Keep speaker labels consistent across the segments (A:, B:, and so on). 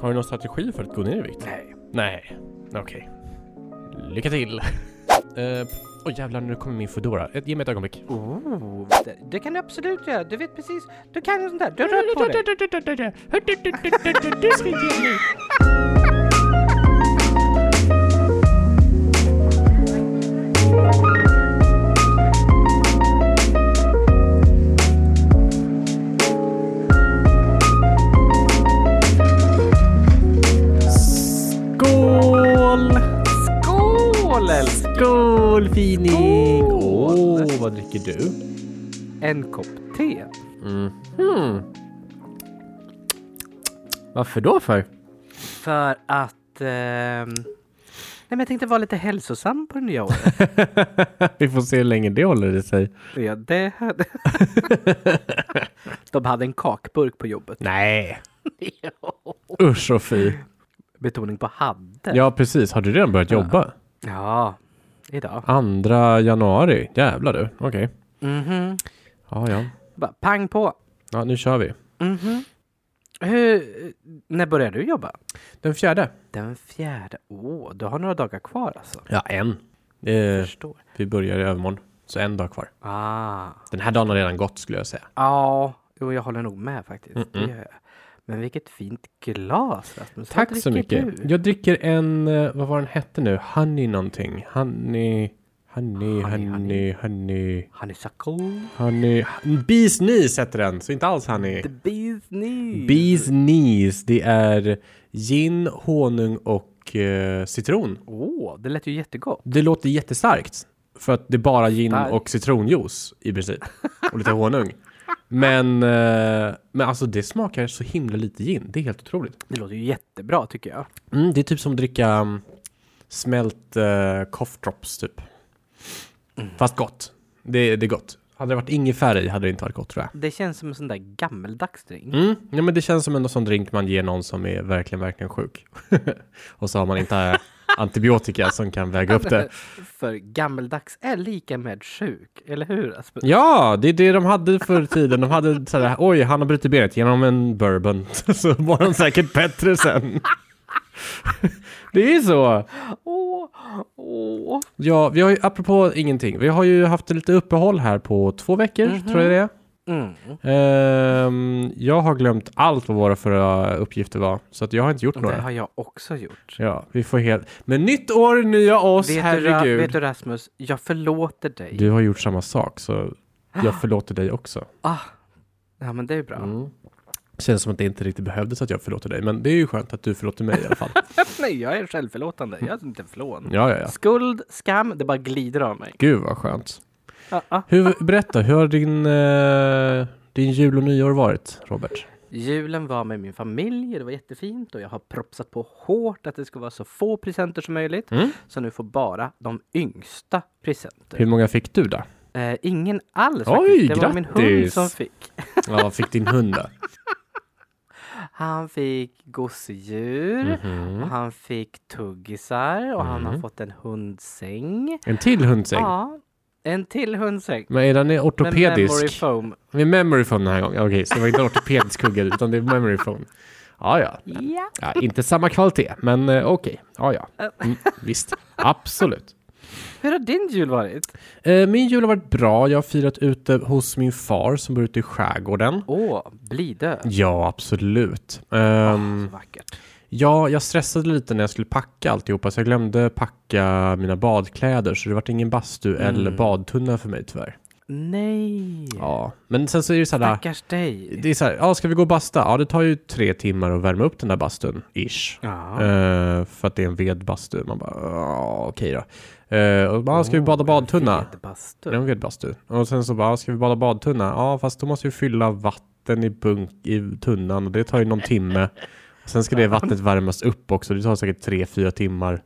A: Har du någon strategi för att gå ner i vikt?
B: Nej.
A: Nej, okej. Lycka till! Oj uh, jävlar, nu kommer min Foodora. Ett- Ge mig ett ögonblick.
B: Oh, det, det kan du absolut göra. Du vet precis. Du kan ju sånt där. Du har rört på dig.
A: Du ska ge mig! Skål!
B: Skål älskling!
A: Skål fining!
B: Skål!
A: Åh, vad dricker du?
B: En kopp te.
A: Varför då för?
B: För att... ehm, Nej, men jag tänkte vara lite hälsosam på det nya året.
A: Vi får se hur länge det håller i sig.
B: ja, det hade... De hade en kakburk på jobbet.
A: Nej! Usch och fy.
B: Betoning på hade.
A: Ja, precis. Har du redan börjat jobba?
B: Ja, idag.
A: Andra januari. Jävlar du. Okej.
B: Mhm.
A: Ja, ja.
B: Bara pang på.
A: Ja, nu kör vi.
B: Mhm. Hur, när börjar du jobba?
A: Den fjärde.
B: Den fjärde. Åh, du har några dagar kvar alltså.
A: Ja, en. Eh,
B: Förstår.
A: vi börjar i övermorgon. Så en dag kvar.
B: Ah.
A: Den här dagen har redan gått skulle jag säga.
B: Ja, jo, jag håller nog med faktiskt. Det gör jag. Men vilket fint glas Rasmus. Vad
A: Tack så
B: dricker
A: mycket.
B: Du?
A: Jag dricker en, eh, vad var den hette nu? Honey någonting. Honey, honey, honey, honey,
B: Honey,
A: honey.
B: Honeysuckle.
A: Bees knees heter den, så inte alls honey.
B: The bees knees.
A: Bees knees, det är gin, honung och eh, citron.
B: Åh, det lät ju jättegott.
A: Det låter jättestarkt. För att det är bara gin
B: Starkt.
A: och citronjuice i princip. Och lite honung. Men, eh, men alltså det smakar så himla lite gin. Det är helt otroligt.
B: Det låter ju jättebra tycker jag.
A: Mm, det är typ som att dricka mm, smält eh, cough drops typ. Fast gott. Det, det är gott. Hade det varit ingefära i hade det inte varit gott tror jag.
B: Det känns som en sån där gammeldags drink.
A: Mm, ja, men det känns som en sån drink man ger någon som är verkligen, verkligen sjuk. och så har man inte antibiotika som kan väga upp det.
B: För gammeldags är lika med sjuk, eller hur Rasmus?
A: Ja, det är det de hade förr i tiden. De hade sådär, oj, han har brutit benet genom en bourbon. Så var han säkert bättre sen. Det är så.
B: Åh, åh.
A: Ja, vi har ju, apropå ingenting, vi har ju haft lite uppehåll här på två veckor, tror jag det är.
B: Mm.
A: Ehm, jag har glömt allt vad våra förra uppgifter var, så att jag har inte gjort
B: Det
A: några.
B: har jag också gjort.
A: Ja, vi får helt... Men nytt år, nya oss,
B: Vet du, Ra-
A: herregud.
B: vet du Rasmus, jag förlåter dig.
A: Du har gjort samma sak, så jag förlåter dig också.
B: Ah. Ja men det är
A: Mm.
B: bra.
A: Känns som att det inte riktigt behövdes att jag förlåter dig, men det är ju skönt att du förlåter mig i alla fall.
B: Nej jag är självförlåtande, jag är inte förlån.
A: Ja, ja, ja.
B: Skuld, skam, det bara glider av mig.
A: Gud vad skönt.
B: Ah, ah.
A: Hur, berätta, hur har din, eh, din jul och nyår varit, Robert?
B: Julen var med min familj, och det var jättefint och jag har propsat på hårt att det ska vara så få presenter som möjligt. Så nu får bara de yngsta presenter.
A: Mm. Hur många fick du då?
B: Eh, ingen alls
A: Oj,
B: faktiskt. Det var min hund
A: grattis!
B: som fick.
A: Ja, vad fick din hund då?
B: Han fick gosedjur,
A: Mhm.
B: och han fick tuggisar och han har fått en hundsäng.
A: En till hundsäng?
B: Ja, en till hundsäng.
A: Men är den
B: Med memory
A: ortopedisk?
B: foam.
A: Det är memory foam den här gången. Okej, så det var inte en ortopedisk kugge, utan det är memory foam. Ja, ja.
B: Ja.
A: ja inte samma kvalitet, men eh, okej. Ja, ja. Mm, visst. Absolut.
B: Hur har din jul varit?
A: Eh, Min jul har varit bra. Jag har firat ute hos min far som bor ute i skärgården.
B: Åh, Blidö.
A: Ja, absolut. Ehm,
B: Så vackert.
A: ja, jag stressade lite när jag skulle packa alltihopa, så jag glömde packa mina badkläder, så det vart ingen bastu eller badtunna för mig tyvärr.
B: Nej,
A: Ja, men sen så är det så här,
B: stackars dig.
A: det är så här, ja, ska vi gå och basta? Ja, det tar ju tre timmar att värma upp den där bastun, ish.
B: Ja.
A: Eh, för att det är en vedbastu. Man bara, ja, okej då. Eh, och bara, ska vi bada badtunna?
B: Vedbastu.
A: Det är en vedbastu. Och sen så bara, ska vi bada badtunna? Ja, fast då måste vi fylla vatten i bunk i tunnan och det tar ju någon timme. Och sen ska det vattnet värmas upp också. Det tar säkert tre fyra timmar.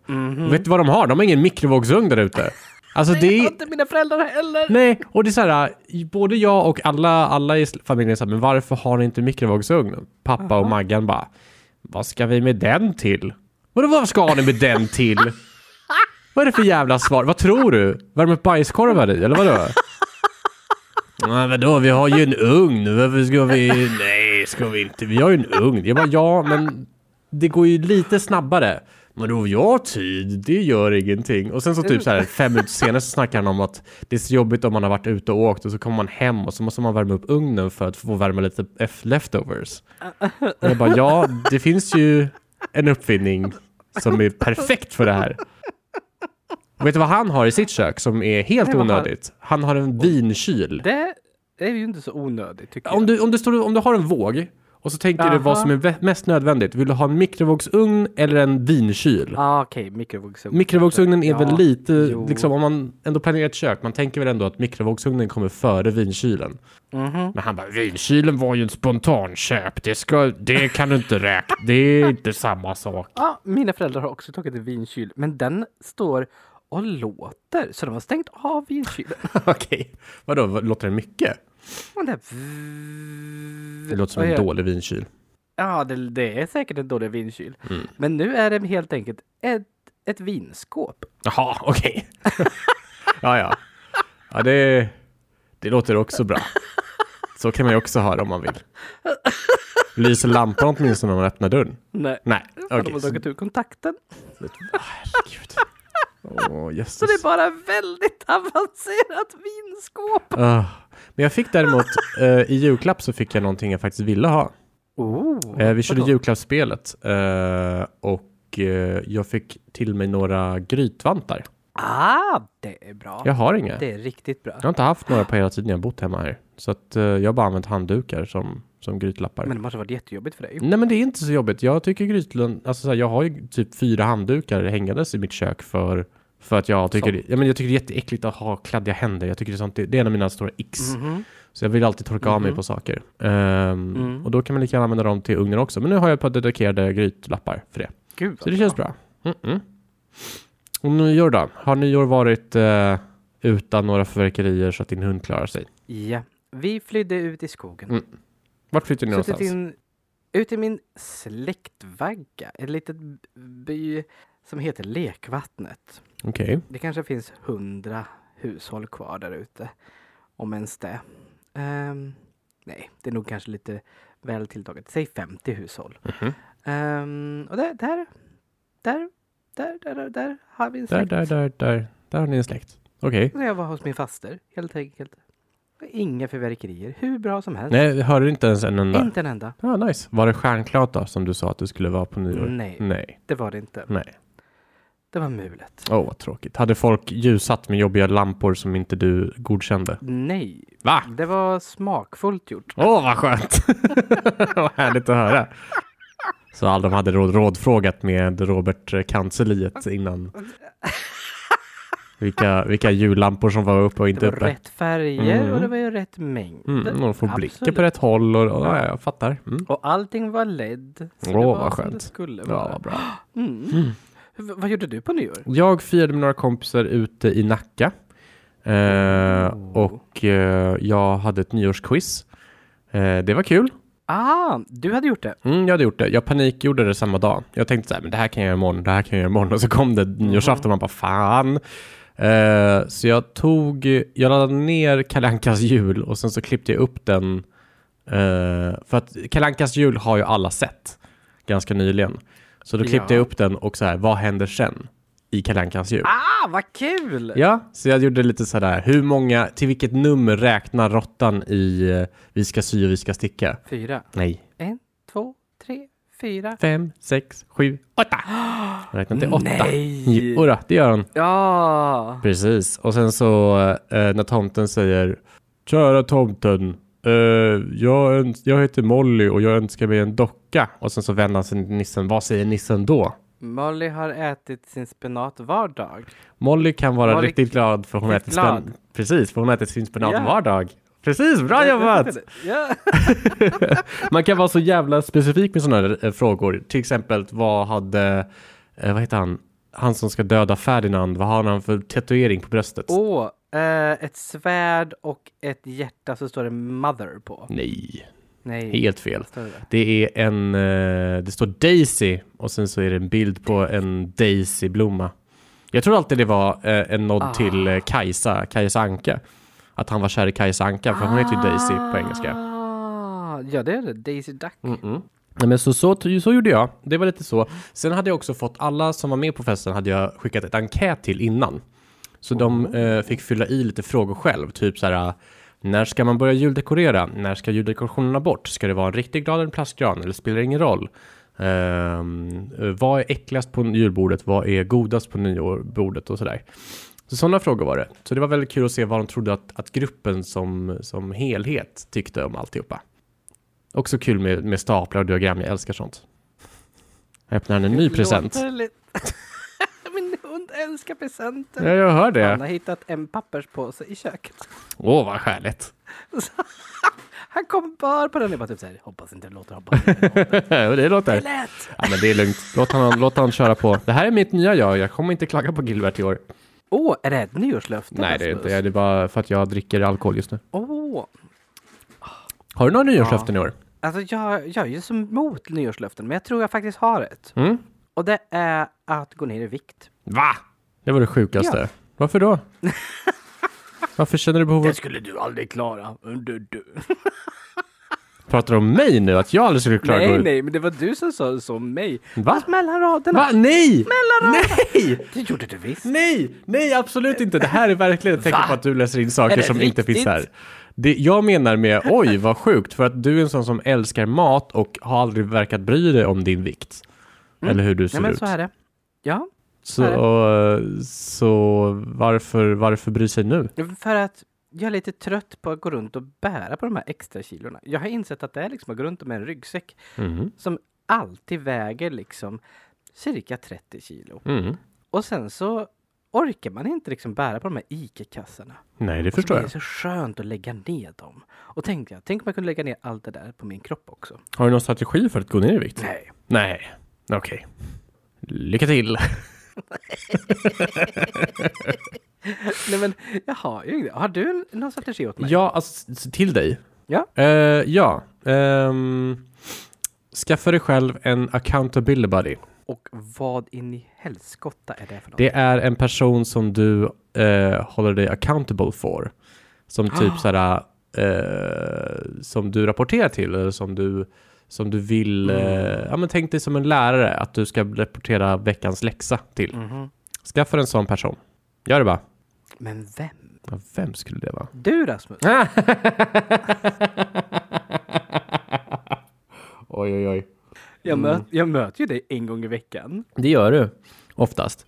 A: Vet du vad de har? De har ingen mikrovågsugn där ute. Alltså det
B: Jag har
A: är...
B: inte mina föräldrar heller.
A: Nej, och det är så här, äh, både jag och alla, alla i familjen är så här, men varför har ni inte mikrovågsugn? Pappa och Maggan bara, vad ska vi med den till? Vadå, vad ska ni med den till? Vad är det för jävla svar? Vad tror du? Värma upp bajskorvar i, eller vadå? Nej, vadå, vi har ju en ugn. Varför ska vi... Nej, ska vi inte. Vi har ju en ugn. Jag bara, ja, men det går ju lite snabbare. Men då jag har tid, det gör ingenting. Och sen så typ så
B: Mm.
A: här fem minuter senare så snackar han om att det är så jobbigt om man har varit ute och åkt och så kommer man hem och så måste man värma upp ugnen för att få värma lite f- leftovers. Och jag bara, ja, det finns ju en uppfinning som är perfekt för det här. Och vet du vad han har i sitt kök som är helt
B: Nej, vad har-
A: onödigt? Han har en vinkyl.
B: Det är ju inte så onödigt tycker
A: Om
B: jag.
A: du, om, du står, om du har en våg och så tänker du
B: Jaha.
A: vad som är vä- mest nödvändigt. Vill du ha en mikrovågsugn eller en vinkyl?
B: Ah, Okej, mikrovågsugn.
A: Mikrovågsugnen är
B: Ja,
A: väl lite,
B: jo.
A: liksom om man ändå planerar ett kök, man tänker väl ändå att mikrovågsugnen kommer före vinkylen.
B: Mhm.
A: Men han bara, vinkylen var ju en spontanköp, det, ska, det kan du inte räkna, det är inte samma sak.
B: Ja, mina föräldrar har också tagit en vinkyl, men den står och låter, så de har stängt av vinkylen.
A: Okej, vadå, vad- låter det mycket?
B: Och det,
A: Det låter som
B: Vad
A: en
B: är-
A: dålig vinkyl.
B: Ja, det, det är säkert en dålig vinkyl.
A: Mm.
B: Men nu är det helt enkelt ett, ett vinskåp.
A: Jaha, okej. ja, ja. Ja, det, det låter också bra. Så kan man ju också ha det om man vill. Lyser lampan åtminstone när man öppnar dörren?
B: Nej,
A: Nej, okej.
B: okay, de har
A: så-
B: dragit ur kontakten.
A: Åh, Herregud. Åh,
B: Så det
A: jösses.
B: är bara väldigt avancerat vinskåp.
A: Ah. Men jag fick däremot, eh, i julklapp så fick jag någonting jag faktiskt ville ha.
B: Oh,
A: Eh, vi körde
B: vadå?
A: julklappsspelet eh, och eh, jag fick till mig några grytvantar.
B: Ah, det är bra.
A: Jag har inga.
B: Det är riktigt bra.
A: Jag har inte haft några på hela tiden jag har bott hemma här. Så att eh, jag har bara använt handdukar som, som grytlappar.
B: Men det måste ha varit jättejobbigt för dig.
A: Nej men det är inte så jobbigt. Jag tycker grytlund, alltså så här, jag har ju typ fyra handdukar hängandes i mitt kök för, för att jag tycker, det, ja, men jag tycker det är jätteäckligt att ha kladdiga händer. Jag tycker det är, sånt, det är en av mina stora x.
B: Mm. Mhm.
A: Så jag vill alltid torka av mig på saker. Ehm, Och då kan man lika gärna använda dem till ugnen också. Men nu har jag ett par dedikerade grytlappar för det.
B: Gud
A: Så
B: vad
A: det känns bra. Mm-mm. Och nyår då? Har nyår varit eh, utan några fyrverkerier så att din hund klarar sig?
B: Ja, vi flydde ut i skogen.
A: Mm, Vart flyttar ni
B: Suttit
A: någonstans?
B: in, ut i min släktvagga, en liten by som heter Lekvattnet.
A: Okej.
B: Det kanske finns hundra hushåll kvar där ute, om ens det. Ehm, nej, det är nog kanske lite väl tilltaget. Säg 50 hushåll.
A: Mhm.
B: Ehm, och där, där, där, där, där, där, där har vi en
A: Där,
B: släkt.
A: där, där, där. Där har ni en släkt. Okej.
B: När jag var hos min faster, helt enkelt. Inga fyrverkerier, hur bra som helst.
A: Nej, jag hörde inte ens en enda.
B: Inte en enda.
A: Ja, nice. Var det stjärnklart då, som du sa att du skulle vara på nyår?
B: Nej.
A: Nej.
B: Det var det inte.
A: Mm. Nej.
B: Det var mulet.
A: Åh, vad tråkigt. Hade folk ljusat med jobbiga lampor som inte du godkände?
B: Nej,
A: Va?
B: det var smakfullt gjort.
A: Åh, vad skönt! vad härligt att höra. Så alla de hade råd, rådfrågat med Robert Kanseliet innan. Vilka, vilka jullampor som var uppe och
B: Det
A: inte
B: var
A: uppe.
B: rätt färger
A: Mm.
B: och det var ju rätt mängd.
A: Mm, och få blicken
B: Absolut.
A: på rätt håll och, och ja, jag fattar. Mm.
B: Och allting var LED. så det
A: Åh,
B: var
A: vad
B: som
A: skönt.
B: Det skulle
A: Ja,
B: vara.
A: vad bra.
B: Mm. V- vad gjorde du på nyår?
A: Jag firade med några kompisar ute i Nacka. Eh, Och eh, jag hade ett nyårsquiz. Eh, det var kul.
B: Ah, du hade gjort det.
A: Mm, jag hade gjort det. Jag panikgjorde det samma dag. Jag tänkte så här, men det här kan jag göra imorgon, det här kan jag göra imorgon. Och så kom det nyårsafton och man bara, fan. Eh, så jag tog, jag laddade ner Kalle Ankas jul och sen så klippte jag upp den. eh, för att Kalle Ankas jul har ju alla sett ganska nyligen. Så då klippte
B: Ja.
A: jag upp den och så här, vad händer sen i Kalle Ankas jul?
B: Ah, vad kul!
A: Ja, så jag gjorde lite sådär, hur många, till vilket nummer räknar råttan i eh, Vi ska sy och vi ska sticka?
B: Fyra.
A: Nej.
B: En, två, tre, fyra.
A: Fem, sex, sju, åtta! Jag räknade till åtta.
B: Nej!
A: Jodå, det gör han.
B: Ja!
A: Precis. Och sen så eh, när tomten säger Kära tomten, eh, jag, öns- jag heter Molly och jag önskar mig en docka. Och sen så vänder han sig till nissen, vad säger nissen då?
B: Molly har ätit sin spenat var dag.
A: Molly kan vara
B: Molly-
A: riktigt glad för hon äter
B: riktigt
A: spenat.
B: glad.
A: Precis, för hon äter sin spenat
B: Ja.
A: var dag. Precis, bra jobbat!
B: Ja.
A: Man kan vara så jävla specifik med sådana här eh, frågor. Till exempel, vad hade, eh, vad heter han, han som ska döda Ferdinand, vad har han för tatuering på bröstet?
B: Åh, eh, ett svärd och ett hjärta så står det mother på.
A: Nej,
B: Nej.
A: helt fel.
B: Står det där?
A: Det är en, eh, det står Daisy och sen så är det en bild på en Daisy-blomma. Jag tror alltid det var eh, en nod till eh, Kajsa, Kajsa Anka. Att han var kär i Kajsa Anka, för hon heter ju Daisy på engelska. Mm,
B: Ah, Ja, det är det. Daisy Duck.
A: Mm-mm. Nej, men så, så, så gjorde jag. Det var lite så. Sen hade jag också fått, alla som var med på festen hade jag skickat ett enkät till innan. Så de eh, fick fylla i lite frågor själv, typ så här. När ska man börja juldekorera? När ska juldekorationerna bort? Ska det vara en riktig gran eller en plastgran? Eller spelar det ingen roll? Ehm, eh, vad är äckligast på julbordet? Vad är godast på nyårsbordet? Och sådär. Så sådana frågor var det. Så det var väldigt kul att se vad de trodde att, att gruppen som, som helhet tyckte om alltihopa. Också kul med, med staplar och diagram, jag älskar sånt. Jag öppnar en ny present.
B: Låter lite- Min hund älskar presenter.
A: Ja, jag hör
B: Han
A: det.
B: har hittat en papperspåse i köket.
A: Åh, vad härligt.
B: Han kom bara på den och bara typ såhär, hoppas inte det låter, hoppas inte det
A: det
B: låter. Det
A: låter...
B: lät!
A: Ja, men det är lugnt. Låt han, låt han köra på. Det här är mitt nya jag. Jag kommer inte klaga på Gilbert i år.
B: Åh, är det ett nyårslöfte?
A: Nej, det är inte.
B: Rasmus?
A: Det är bara för att jag dricker alkohol just nu.
B: Åh,
A: Har du några nyårslöften i år?
B: alltså jag, jag är ju som emot nyårslöften, men jag tror jag faktiskt har ett.
A: Mm?
B: Och det är att gå ner i vikt.
A: Va? Det var det sjukaste.
B: Ja.
A: Varför då? Varför känner du behovet?
B: skulle du aldrig klara. Du, du.
A: Pratar du om mig nu? Att jag aldrig skulle klara
B: Nej,
A: gå-
B: nej, men det var du som sa så om mig.
A: Va?
B: Fast mellan raderna.
A: Va? Nej! Nej!
B: Det gjorde du visst.
A: Nej, nej absolut inte. Det här är verkligen ett tecken på att du läser in saker
B: Är det
A: som inte finns
B: riktigt?
A: här. Det jag menar med oj vad sjukt, för att du är en sån som älskar mat och har aldrig verkat bry dig om din vikt. Eller hur du ser
B: Nej, Mm. men
A: ut.
B: så är det. Ja,
A: Så,
B: är det.
A: och, så varför, varför bry sig nu?
B: för att jag är lite trött på att gå runt och bära på de här extra kilorna. Jag har insett att det är liksom att gå runt med en ryggsäck
A: Mhm,
B: som alltid väger liksom cirka 30 kilo.
A: mhm.
B: Och sen så orkar man inte liksom bära på de här ICA-kassarna.
A: Nej, det
B: Och så
A: förstår
B: Det är
A: jag.
B: så skönt att lägga ner dem. Och tänkte jag, tänk om jag kunde lägga ner allt det där på min kropp också.
A: Har du någon strategi för att gå ner i vikt?
B: Nej.
A: Nej, okej. Lycka till!
B: Nej men, jag har ju inget. Har du en- någon strategi åt mig?
A: Ja, alltså, s- till dig.
B: Ja.
A: Eh, ja. Ehm, skaffa dig själv en accountability buddy.
B: Och vad in i helskotta är det för något?
A: Det är en person som du eh, håller dig accountable for. Som typ såhär, eh, som du rapporterar till eller som du, som du vill, eh, ja men tänk dig som en lärare att du ska rapportera veckans läxa till.
B: Mhm.
A: Skaffa en sån person. Gör det bara.
B: Men vem?
A: Ja, Vem skulle det vara?
B: Du Rasmus?
A: Oj, oj, oj.
B: Jag, möt, jag möter ju dig en gång i veckan.
A: Det gör du oftast.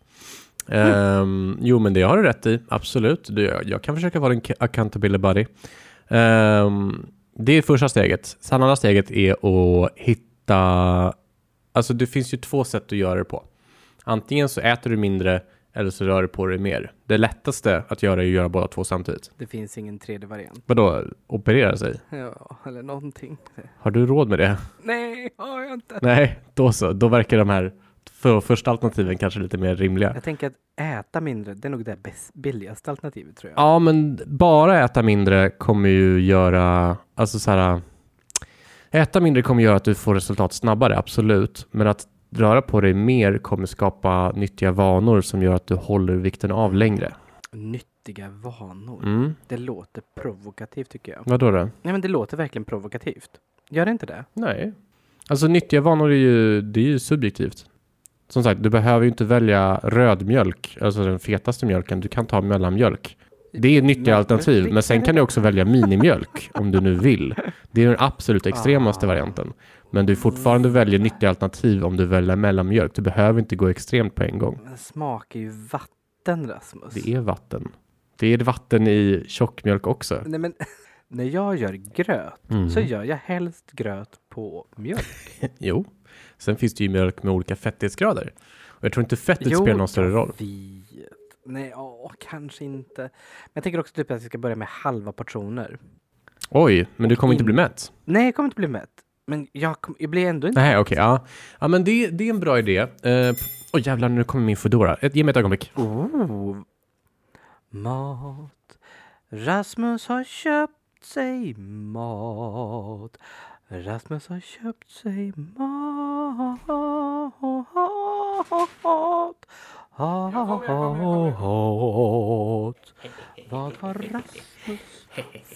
A: Ehm, jo, men det har du rätt i. Absolut. Du, jag- jag kan försöka vara en ca- accountability buddy. Ehm, det är första steget. Sen andra steget är att hitta... Alltså det finns ju två sätt att göra det på. Antingen så äter du mindre eller så rör du på dig mer. Det lättaste att göra är att göra båda två samtidigt.
B: Det finns ingen tredje variant.
A: Vadå, operera sig?
B: Ja, eller någonting.
A: Har du råd med det?
B: Nej, har jag inte.
A: Nej, då så. Då verkar de här för första alternativen kanske lite mer rimliga.
B: Jag tänker att äta mindre, det är nog det bäst, billigaste alternativet tror jag.
A: Ja, men bara äta mindre kommer ju göra, alltså så här, äta mindre kommer göra att du får resultat snabbare, absolut. Men att röra på dig mer kommer skapa nyttiga vanor som gör att du håller vikten av längre.
B: Nyttiga vanor.
A: Mm.
B: Det låter provokativt tycker jag.
A: Vadå då?
B: Nej men det låter verkligen provokativt. Gör det inte det?
A: Nej. Alltså nyttiga vanor är ju, det är ju subjektivt. Som sagt, du behöver ju inte välja rödmjölk, alltså den fetaste mjölken. Du kan ta mellanmjölk. Det är nyttiga
B: Men-
A: alternativ, men sen kan du också välja minimjölk om du nu vill. Det är den absolut extremaste
B: Ah.
A: varianten. Men du fortfarande
B: Mm.
A: väljer nyttiga alternativ om du väljer mellanmjölk. Du behöver inte gå extremt på en gång.
B: Men smak är ju vatten Rasmus.
A: Det är vatten. Det är vatten i tjockmjölk också.
B: Nej men, när jag gör gröt
A: Mm.
B: så gör jag helst gröt på mjölk.
A: Jo. Sen finns det ju mjölk med olika fettighetsgrader. Och jag tror inte fettet
B: Jo,
A: spelar någon större
B: jag
A: roll.
B: Vet. Nej, åh, kanske inte. Men jag tänker också typ att jag ska börja med halva portioner.
A: Oj, men du kommer inte
B: in-
A: bli mätt?
B: Nej, jag kommer inte bli mätt. Men jag, kom, jag blir ändå inte...
A: Nej, okej. ja. ja, men det, det är en bra idé. Eh, Oj jävlar, nu kommer min Foodora. Ett, ge mig ett ögonblick.
B: Oh. Mat. Rasmus har köpt sig mat. Rasmus har köpt sig mat. Hat. Vad har Rasmus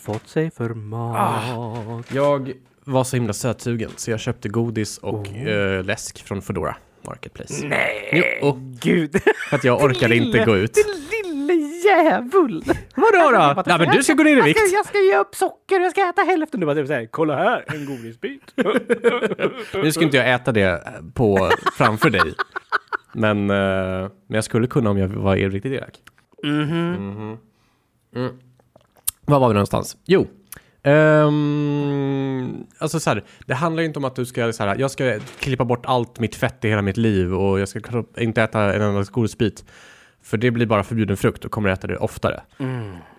B: fått sig för mat?
A: Jag var så himla sötsugen så jag köpte godis och eh, läsk från Foodora Marketplace.
B: Nej,
A: Jo, och-
B: gud.
A: För att jag orkade inte gå ut.
B: Din lille jävel.
A: Vadå då?
B: Bara,
A: Nej men du ska gå ner i
B: jag
A: vikt.
B: ska, jag ska ge upp socker, jag ska äta hälften. Du bara typ såhär, kolla här, en godisbit.
A: Nu ska inte jag äta det på, framför dig. Men, eh, men jag skulle kunna om jag var riktigt elak. Mhm. Mm. Var var vi någonstans? Jo. ehm, alltså så här, det handlar ju inte om att du ska så här, jag ska klippa bort allt mitt fett i hela mitt liv och jag ska kro- inte äta en enda godisbit. För det blir bara förbjuden frukt och kommer äta det oftare.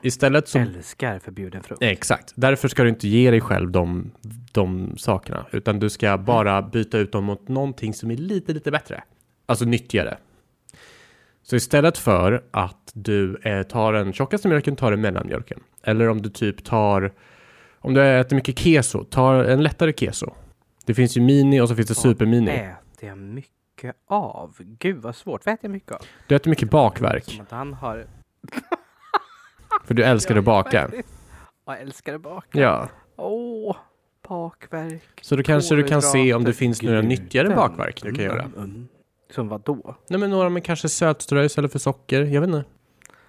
A: Istället så
B: Mm. Älskar förbjuden frukt.
A: Exakt. Därför ska du inte ge dig själv de, de sakerna. Utan du ska bara byta ut dem mot någonting som är lite, lite bättre. Alltså nyttigare. Så istället för att du eh, tar den tjockaste mjölken, tar du mellanmjölken. Eller om du typ tar, om du äter mycket keso, ta en lättare keso. Det finns ju mini och så finns det supermini.
B: Äter jag mycket av? Gud vad svårt. Vad äter jag mycket av?
A: Du äter mycket bakverk,
B: Som att han har...
A: för du älskar att baka.
B: Jag älskar att baka.
A: Ja,
B: Åh, bakverk.
A: så då kanske du kan se om det
B: Kolhydrater,
A: finns några nyttigare
B: gluten.
A: bakverk du kan göra.
B: Mm, mm. Som vad då?
A: Nej men några med kanske sötströ istället för socker, jag vet inte.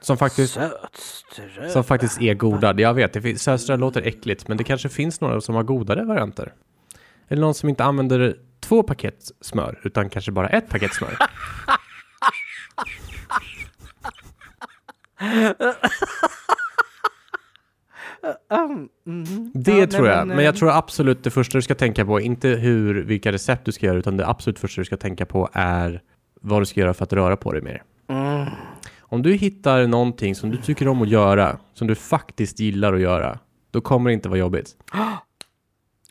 A: Som faktiskt,
B: Sötströ.
A: som faktiskt är goda, jag vet, det finns, sötströ låter äckligt men det kanske finns några som har godare varianter. Eller någon som inte använder två paket smör utan kanske bara ett paket smör.
B: Mm, mm.
A: Det
B: Ja,
A: tror
B: nej,
A: jag, men,
B: eh,
A: jag tror absolut det första du ska tänka på, inte hur, vilka recept du ska göra utan det absolut första du ska tänka på är vad du ska göra för att röra på dig mer.
B: Mm.
A: Om du hittar någonting som du tycker om att göra, som du faktiskt gillar att göra, då kommer det inte vara jobbigt.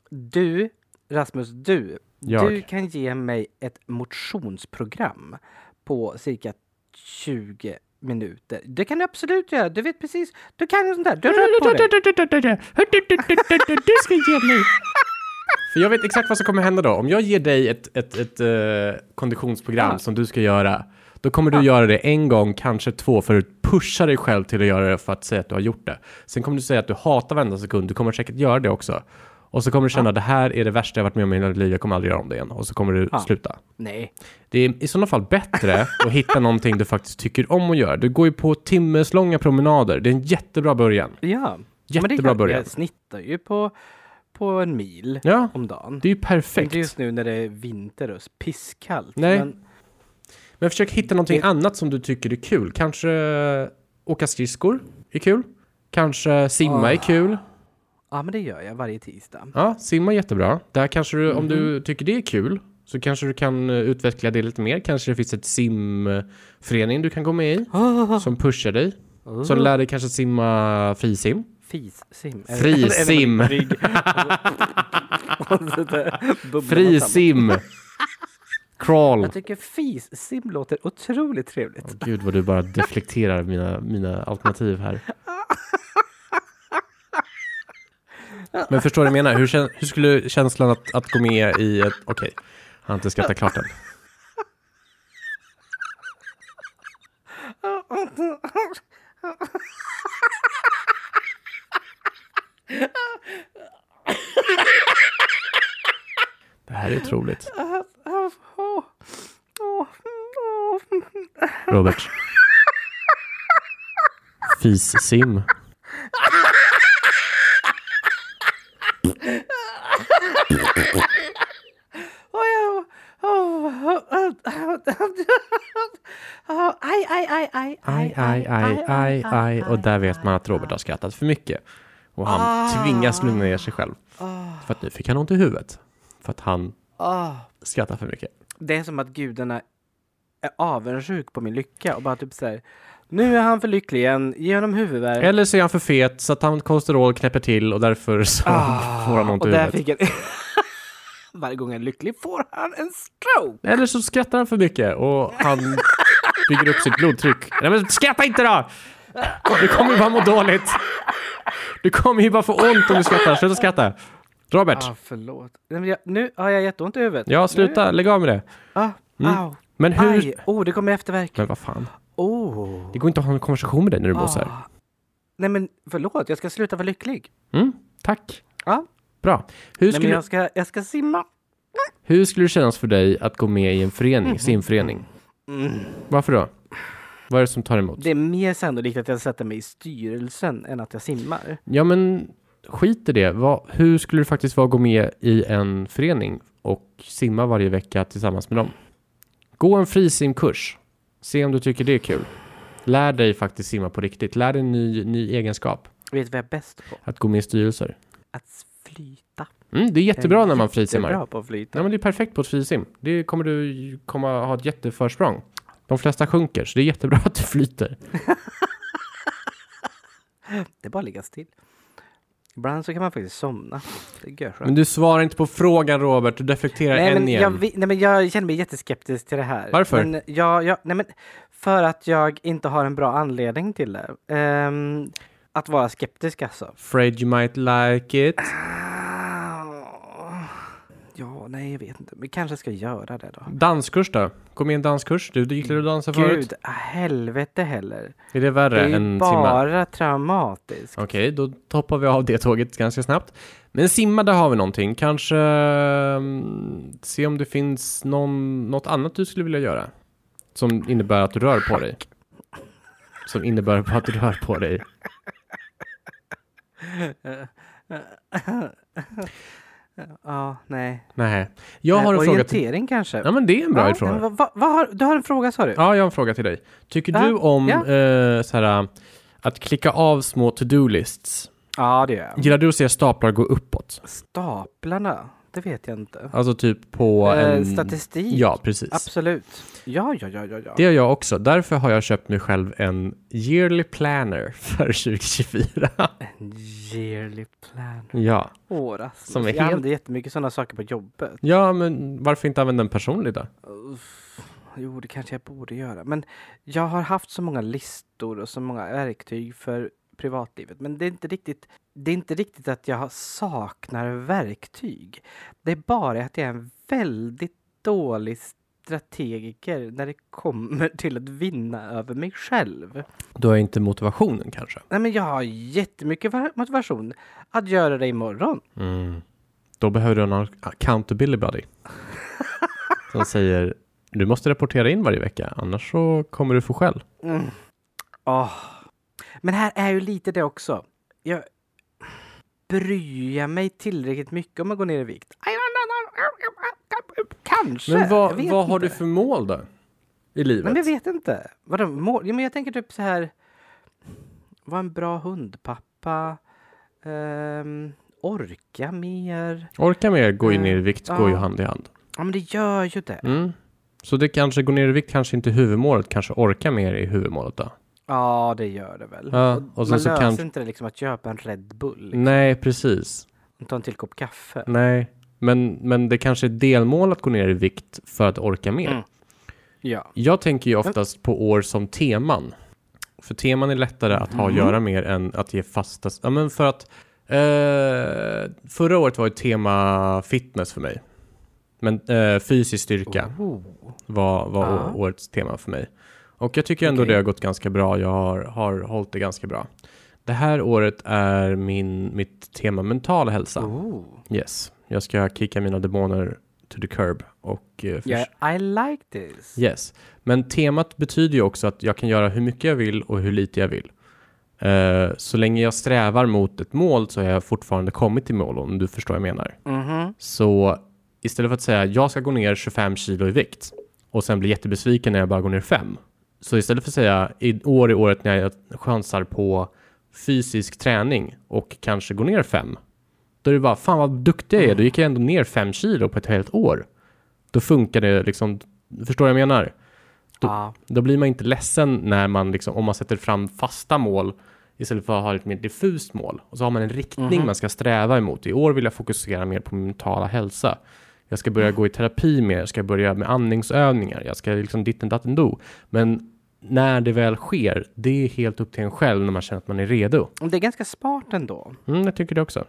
B: Du, Rasmus, du.
A: Jag.
B: Du kan ge mig ett motionsprogram på cirka 20 minuter. Det kan du absolut göra. Du vet precis. Du kan ju sånt där. Du har rört på dig.
A: Du ska ge mig. För jag vet exakt vad som kommer hända då. Om jag ger dig ett, ett, ett eh, konditionsprogram
B: Ja.
A: som du ska göra, då kommer du göra det en gång, kanske två, för att pusha dig själv till att göra det för att säga att du har gjort det. Sen kommer du säga att du hatar varenda sekund, du kommer säkert göra det också. Och så kommer du känna att det här är det värsta jag varit med om i hela mitt liv, jag kommer aldrig göra om det igen. Och så kommer du
B: Ja.
A: sluta.
B: Nej.
A: Det är i sådana fall bättre att hitta någonting du faktiskt tycker om att göra. Du går ju på timmeslånga promenader, det är en jättebra början.
B: Ja.
A: Jättebra
B: Men det kan-
A: början.
B: Jag snittar ju på, på en mil
A: Ja,
B: om dagen.
A: det är ju
B: Inte
A: perfekt.
B: just nu när det är vinter och pisskallt.
A: Nej.
B: Men
A: Men försök hitta någonting annat som du tycker är kul. Kanske eh, åka skridskor är kul. Kanske simma är kul.
B: Ja, men det gör jag varje tisdag.
A: Ja, simma är jättebra. Där kanske du, om du tycker det är kul, så kanske du kan eh, utveckla det lite mer. Kanske det finns ett simförening du kan gå med i, som pushar dig. Som lär dig kanske simma frisim.
B: Fissim.
A: Frisim.
B: Frisim.
A: Frisim! Crawl!
B: Jag tycker fissim låter otroligt trevligt.
A: Gud vad du bara deflekterar mina, mina alternativ här. Men förstår du vad jag menar? Hur, kän, hur skulle känslan att, att gå med i ett... Okej, han har inte skrattat klart än. Det här är otroligt.
B: Åh, åh, åh, åh.
A: Robert. Fis-sim.
B: Åh, jag- åh, åh, åh, åh. Aj, aj, aj, aj,
A: Aj, aj, aj, aj, aj. Ah. Och där vet man att Robert har skrattat för mycket. Och han tvingas lugna ner sig själv. För att nu fick han ont i huvudet. För att han
B: Ah.
A: skrattar för mycket.
B: Det är som att gudarna är avundsjuk på min lycka och bara typ såhär Nu är han för lycklig igen, ge honom huvudvärk.
A: Eller så är han för fet så att han kolesterol knäpper till och därför så får han ont i
B: och där
A: huvudet.
B: fick jag... Varje gång han är lycklig får han en stroke!
A: Eller så skrattar han för mycket och han bygger upp sitt blodtryck. Nej men skratta inte då! Du kommer ju bara må dåligt. Du kommer ju bara få ont om du skrattar. Sluta skratta. Robert,
B: Ah, förlåt. Nej, men jag, nu har jag jätteont i huvudet.
A: ja sluta, lägg av med det.
B: Ah, au,
A: Men hur...
B: aj, oh det kommer efterverk.
A: Men vad fan.
B: Oh.
A: Det går inte att ha en konversation med dig
B: Ah.
A: när du mosar.
B: Nej men förlåt, jag ska sluta vara lycklig.
A: Mm, tack.
B: Ja.
A: Bra. Hur
B: Nej,
A: skulle,
B: men jag ska, jag ska simma.
A: hur skulle det kännas för dig att gå med i en förening, simförening?
B: Mm.
A: Varför då? Vad är det som tar emot?
B: Det är mer sannolikt att jag sätter mig i styrelsen än att jag simmar.
A: Ja, men skit i det. Vad, hur skulle det faktiskt vara att gå med i en förening och simma varje vecka tillsammans med dem? Gå en frisimkurs. Se om du tycker det är kul. Lär dig faktiskt simma på riktigt. Lär dig en ny, ny egenskap.
B: Vet du vad jag är bäst på?
A: Att gå med i styrelser.
B: Att flyta.
A: Mm, det är
B: Jag är
A: jättebra när man Mm. frisimmar.
B: jättebra på att flyta.
A: Nej, men det är perfekt på ett frisim. Det kommer du ju komma ha ett jätteförsprång. De flesta sjunker, så det är jättebra att du flyter.
B: Det är bara att ligga still. Ibland så kan man faktiskt somna. Det är görskönt.
A: Men du svarar inte på frågan Robert, du deflekterar
B: Nej
A: än
B: men,
A: igen.
B: jag, vi- nej men jag känner mig jätteskeptisk till det här.
A: Varför?
B: Men jag, jag, nej men för att jag inte har en bra anledning till det. Ehm, att vara skeptisk alltså.
A: Afraid you might like it.
B: Ah, Ja, nej jag vet inte. Men kanske ska jag göra det då.
A: Danskurs då? Gå med i en danskurs. Du, du gillade att dansa förut.
B: Gud, ah, helvete heller.
A: Är det
B: Det
A: värre
B: är ju
A: än simma?
B: bara traumatiskt.
A: Okej, då hoppar vi av det tåget ganska snabbt. Men simma, där har vi någonting. Kanske mm, se om det finns någon, något annat du skulle vilja göra. Som innebär att du rör på dig. Som innebär på att du rör på dig.
B: Ja, nej.
A: Nej. Jag
B: Eh,
A: har en fråga till...
B: Orientering kanske?
A: Ja, men det är en bra
B: Ja,
A: ifrån.
B: men vad- vad- vad har- Du har en fråga sa du?
A: Ja, jag har en fråga till dig. Tycker
B: Ja,
A: du om
B: ja.
A: eh, så här, eh, att klicka av små to-do-lists?
B: Ja, det gör jag.
A: Gillar du att se staplar gå uppåt?
B: Staplarna? Det vet jag inte.
A: Alltså typ på
B: Eh,
A: en...
B: Statistik?
A: Ja, precis.
B: Absolut. Ja, ja, ja, ja. ja.
A: Det gör jag också. Därför har jag köpt mig själv en yearly planner för 2024.
B: En yearly plan.
A: ja.
B: Åh, Rasmus.
A: Som är
B: Jag
A: helt-
B: använder jättemycket sådana saker på jobbet.
A: ja, men varför inte använda en personlig då?
B: Uff. Jo, det kanske jag borde göra. Men jag har haft så många listor och så många verktyg för privatlivet. Men det är inte riktigt, det är inte riktigt att jag saknar verktyg. Det är bara att jag är en väldigt dålig strategiker när det kommer till att vinna över mig själv.
A: Då är inte motivationen kanske.
B: Nej, men jag har jättemycket va- motivation att göra det imorgon.
A: Mm. Då behöver du en accountability buddy. som säger du måste rapportera in varje vecka, annars så kommer du få skäll.
B: Mm. Åh. Men här är ju lite det också. Jag bryr jag mig tillräckligt mycket om att gå ner i vikt? Kanske.
A: Men
B: Jag
A: vad,
B: vet
A: vad har
B: inte.
A: du för mål då? I livet?
B: Men jag vet inte. Vadå, mål? Ja, men jag tänker typ så här. Vara en bra hundpappa. Ehm, orka mer.
A: Orka mer gå in i vikt går ju
B: Ja.
A: hand i hand.
B: Ja, men det gör ju det.
A: Mm. Så det kanske går ner i vikt, kanske inte är huvudmålet, kanske orka mer i huvudmålet då?
B: Ja, det gör det väl.
A: Ja, och sen
B: Man
A: så
B: löser
A: kanske- Mm.
B: inte det liksom att köpa en Red Bull.
A: Nej, precis.
B: Ta en till kopp kaffe.
A: Nej, men, men det kanske är ett delmål att gå ner i vikt för att orka mer.
B: Mm. Ja.
A: Jag tänker ju oftast på år som teman. För teman är lättare att ha att
B: Mm.
A: göra mer än att ge fasta... Ja, men för att... Eh, förra året var ju tema fitness för mig. Men eh, fysisk styrka.
B: Oh.
A: var, var
B: Ja.
A: å- årets tema för mig. Och jag tycker ändå
B: Okej.
A: det har gått ganska bra. Jag har, har hållit det ganska bra. Det här året är min, mitt tema mental hälsa.
B: Oh.
A: Yes, jag ska kicka mina demoner to the curb. Och, eh, förs-
B: Yeah, I like this.
A: Yes, men temat betyder ju också att jag kan göra hur mycket jag vill och hur lite jag vill. Eh, så länge jag strävar mot ett mål så har jag fortfarande kommit till mål om du förstår vad jag menar.
B: Mhm.
A: Så istället för att säga jag ska gå ner 25 kilo i vikt och sen bli jättebesviken när jag bara går ner 5. Så istället för att säga i år är året när jag chansar på fysisk träning och kanske går ner 5. Då är det bara fan vad duktig jag är, då gick jag ändå ner 5 kilo på ett helt år. Då funkar det liksom, förstår vad jag menar? Då-
B: Ja.
A: Då blir man inte ledsen när man liksom, om man sätter fram fasta mål istället för att ha ett mer diffust mål. Och så har man en riktning man ska sträva emot. I år vill jag fokusera mer på min mentala hälsa. Jag ska börja gå i terapi mer, jag ska börja med andningsövningar, jag ska liksom ditten datten do. Men när det väl sker, det är helt upp till en själv när man känner att man är redo.
B: Det är ganska smart ändå.
A: Mm, jag tycker det också.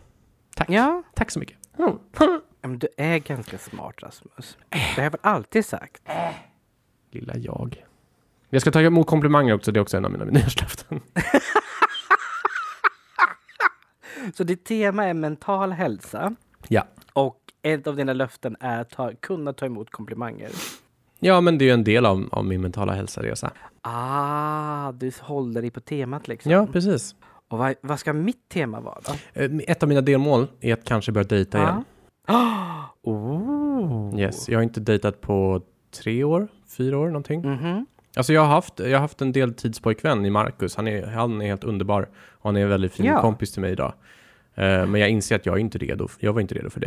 A: Tack.
B: Ja.
A: Tack så mycket.
B: Men du är ganska smart Rasmus. Det har jag väl alltid sagt.
A: Lilla jag. Jag ska ta emot komplimanger också, det är också en av mina nyårslöften.
B: Så ditt tema är mental hälsa
A: Ja.
B: och ett av dina löften är att ta, kunna ta emot komplimanger.
A: Ja, men det är ju en del av, av min mentala hälsaresa.
B: Ah, du håller dig på temat liksom.
A: Ja, precis.
B: Och vad, vad ska mitt tema vara då?
A: Eh, Ett av mina delmål är att kanske börja dejta igen.
B: Oh.
A: Yes, jag har inte dejtat på tre år, fyra år någonting.
B: Mhm.
A: Alltså jag har haft, jag har haft en deltidspojkvän i Marcus. Han är, han är helt underbar. Och han är en väldigt fin
B: Ja.
A: kompis till mig idag. Eh, Men jag inser att jag är inte redo. Jag var inte redo för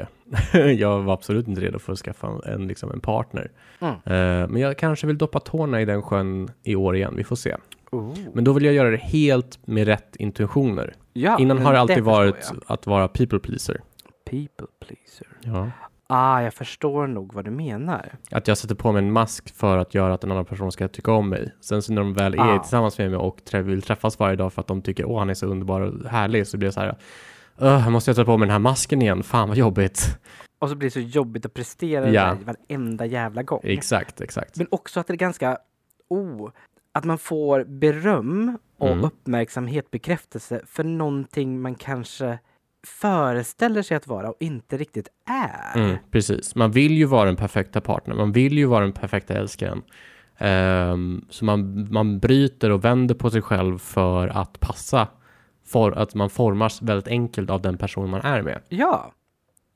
A: det. jag var absolut inte redo för att skaffa en, liksom en partner.
B: Mm.
A: Eh, Men jag kanske vill doppa tårna i den sjön i år igen. Vi får se.
B: Oh.
A: Men då vill jag göra det helt med rätt intentioner.
B: Ja,
A: Innan
B: men
A: har det alltid
B: förstår
A: varit
B: jag.
A: att vara people pleaser.
B: People pleaser.
A: Ja.
B: Ah, jag förstår nog vad du menar.
A: Att jag sätter på mig en mask för att göra att en annan person ska tycka om mig. Sen så när de väl är
B: Ah.
A: tillsammans med mig och trä- vill träffas varje dag för att de tycker åh han är så underbar och härlig så blir det så här "Ugh, måste jag ta på mig den här masken igen, fan vad jobbigt.
B: Och så blir det så jobbigt att prestera det
A: Ja.
B: där varenda jävla gång.
A: Exakt, exakt.
B: Men också att det är ganska, oh, att man får beröm och
A: Mm.
B: uppmärksamhet, bekräftelse för någonting man kanske föreställer sig att vara och inte riktigt är.
A: Mm, precis, man vill ju vara den perfekta partnern, man vill ju vara den perfekta älskaren. Ehm, så man, man bryter och vänder på sig själv för att passa. För att man formas väldigt enkelt av den person man är med.
B: Ja,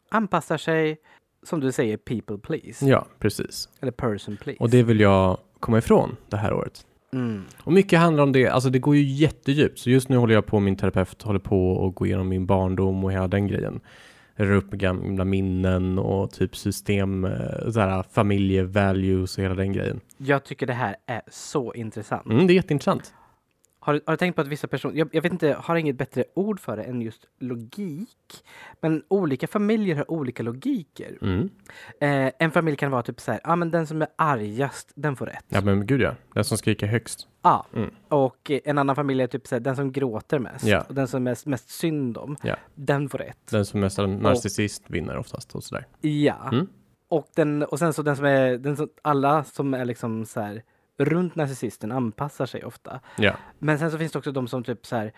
B: anpassar sig, som du säger, people please.
A: Ja, precis.
B: Eller person please.
A: Och det vill jag komma ifrån det här året.
B: mm.
A: Och mycket handlar om det, alltså det går ju jättedjupt. Så just nu håller jag på, min terapeut håller på och går igenom min barndom och hela den grejen. Rör upp gamla minnen och typ system, eh, så här, familjevalues och hela den grejen.
B: Jag tycker det här är så intressant.
A: Mm, det är jätteintressant.
B: Har, du- har du tänkt på att vissa personer, jag, jag vet inte, har inget bättre ord för det än just logik. Men olika familjer har olika logiker.
A: Mm.
B: Eh, en familj kan vara typ så här, ja ah, men den som är argast, den får rätt.
A: Ja men gud ja, den som skriker högst.
B: Ja.
A: Mm.
B: Och eh, en annan familj är typ så här, den som gråter mest
A: Ja.
B: och den som är mest synd om,
A: Ja.
B: den får rätt.
A: Den som är en narcissist vinner oftast och sådär.
B: Ja.
A: Mm.
B: Och, den, och sen så den som är, den som, alla som är liksom så här runt narcissisten anpassar sig ofta.
A: Ja,
B: Men sen så finns det också de som typ så här,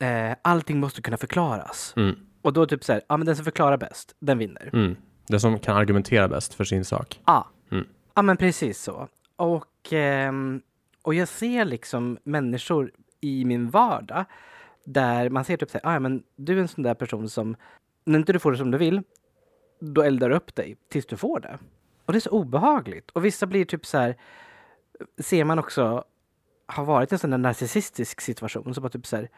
B: eh, allting måste kunna förklaras.
A: mm,
B: Och då typ så här, ja men den som förklarar bäst, den vinner.
A: mm. Den som kan argumentera bäst för sin sak.
B: Ja,
A: Mm.
B: ja men precis så. Och, ehm, och jag ser liksom människor i min vardag där man ser typ så här, ah, ja, men du är en sån där person som, när inte du får det som du vill, då eldar du upp dig tills du får det. Och det är så obehagligt. Och vissa blir typ så här, ser man också, har varit i en sån där narcissistisk situation, så bara typ så här,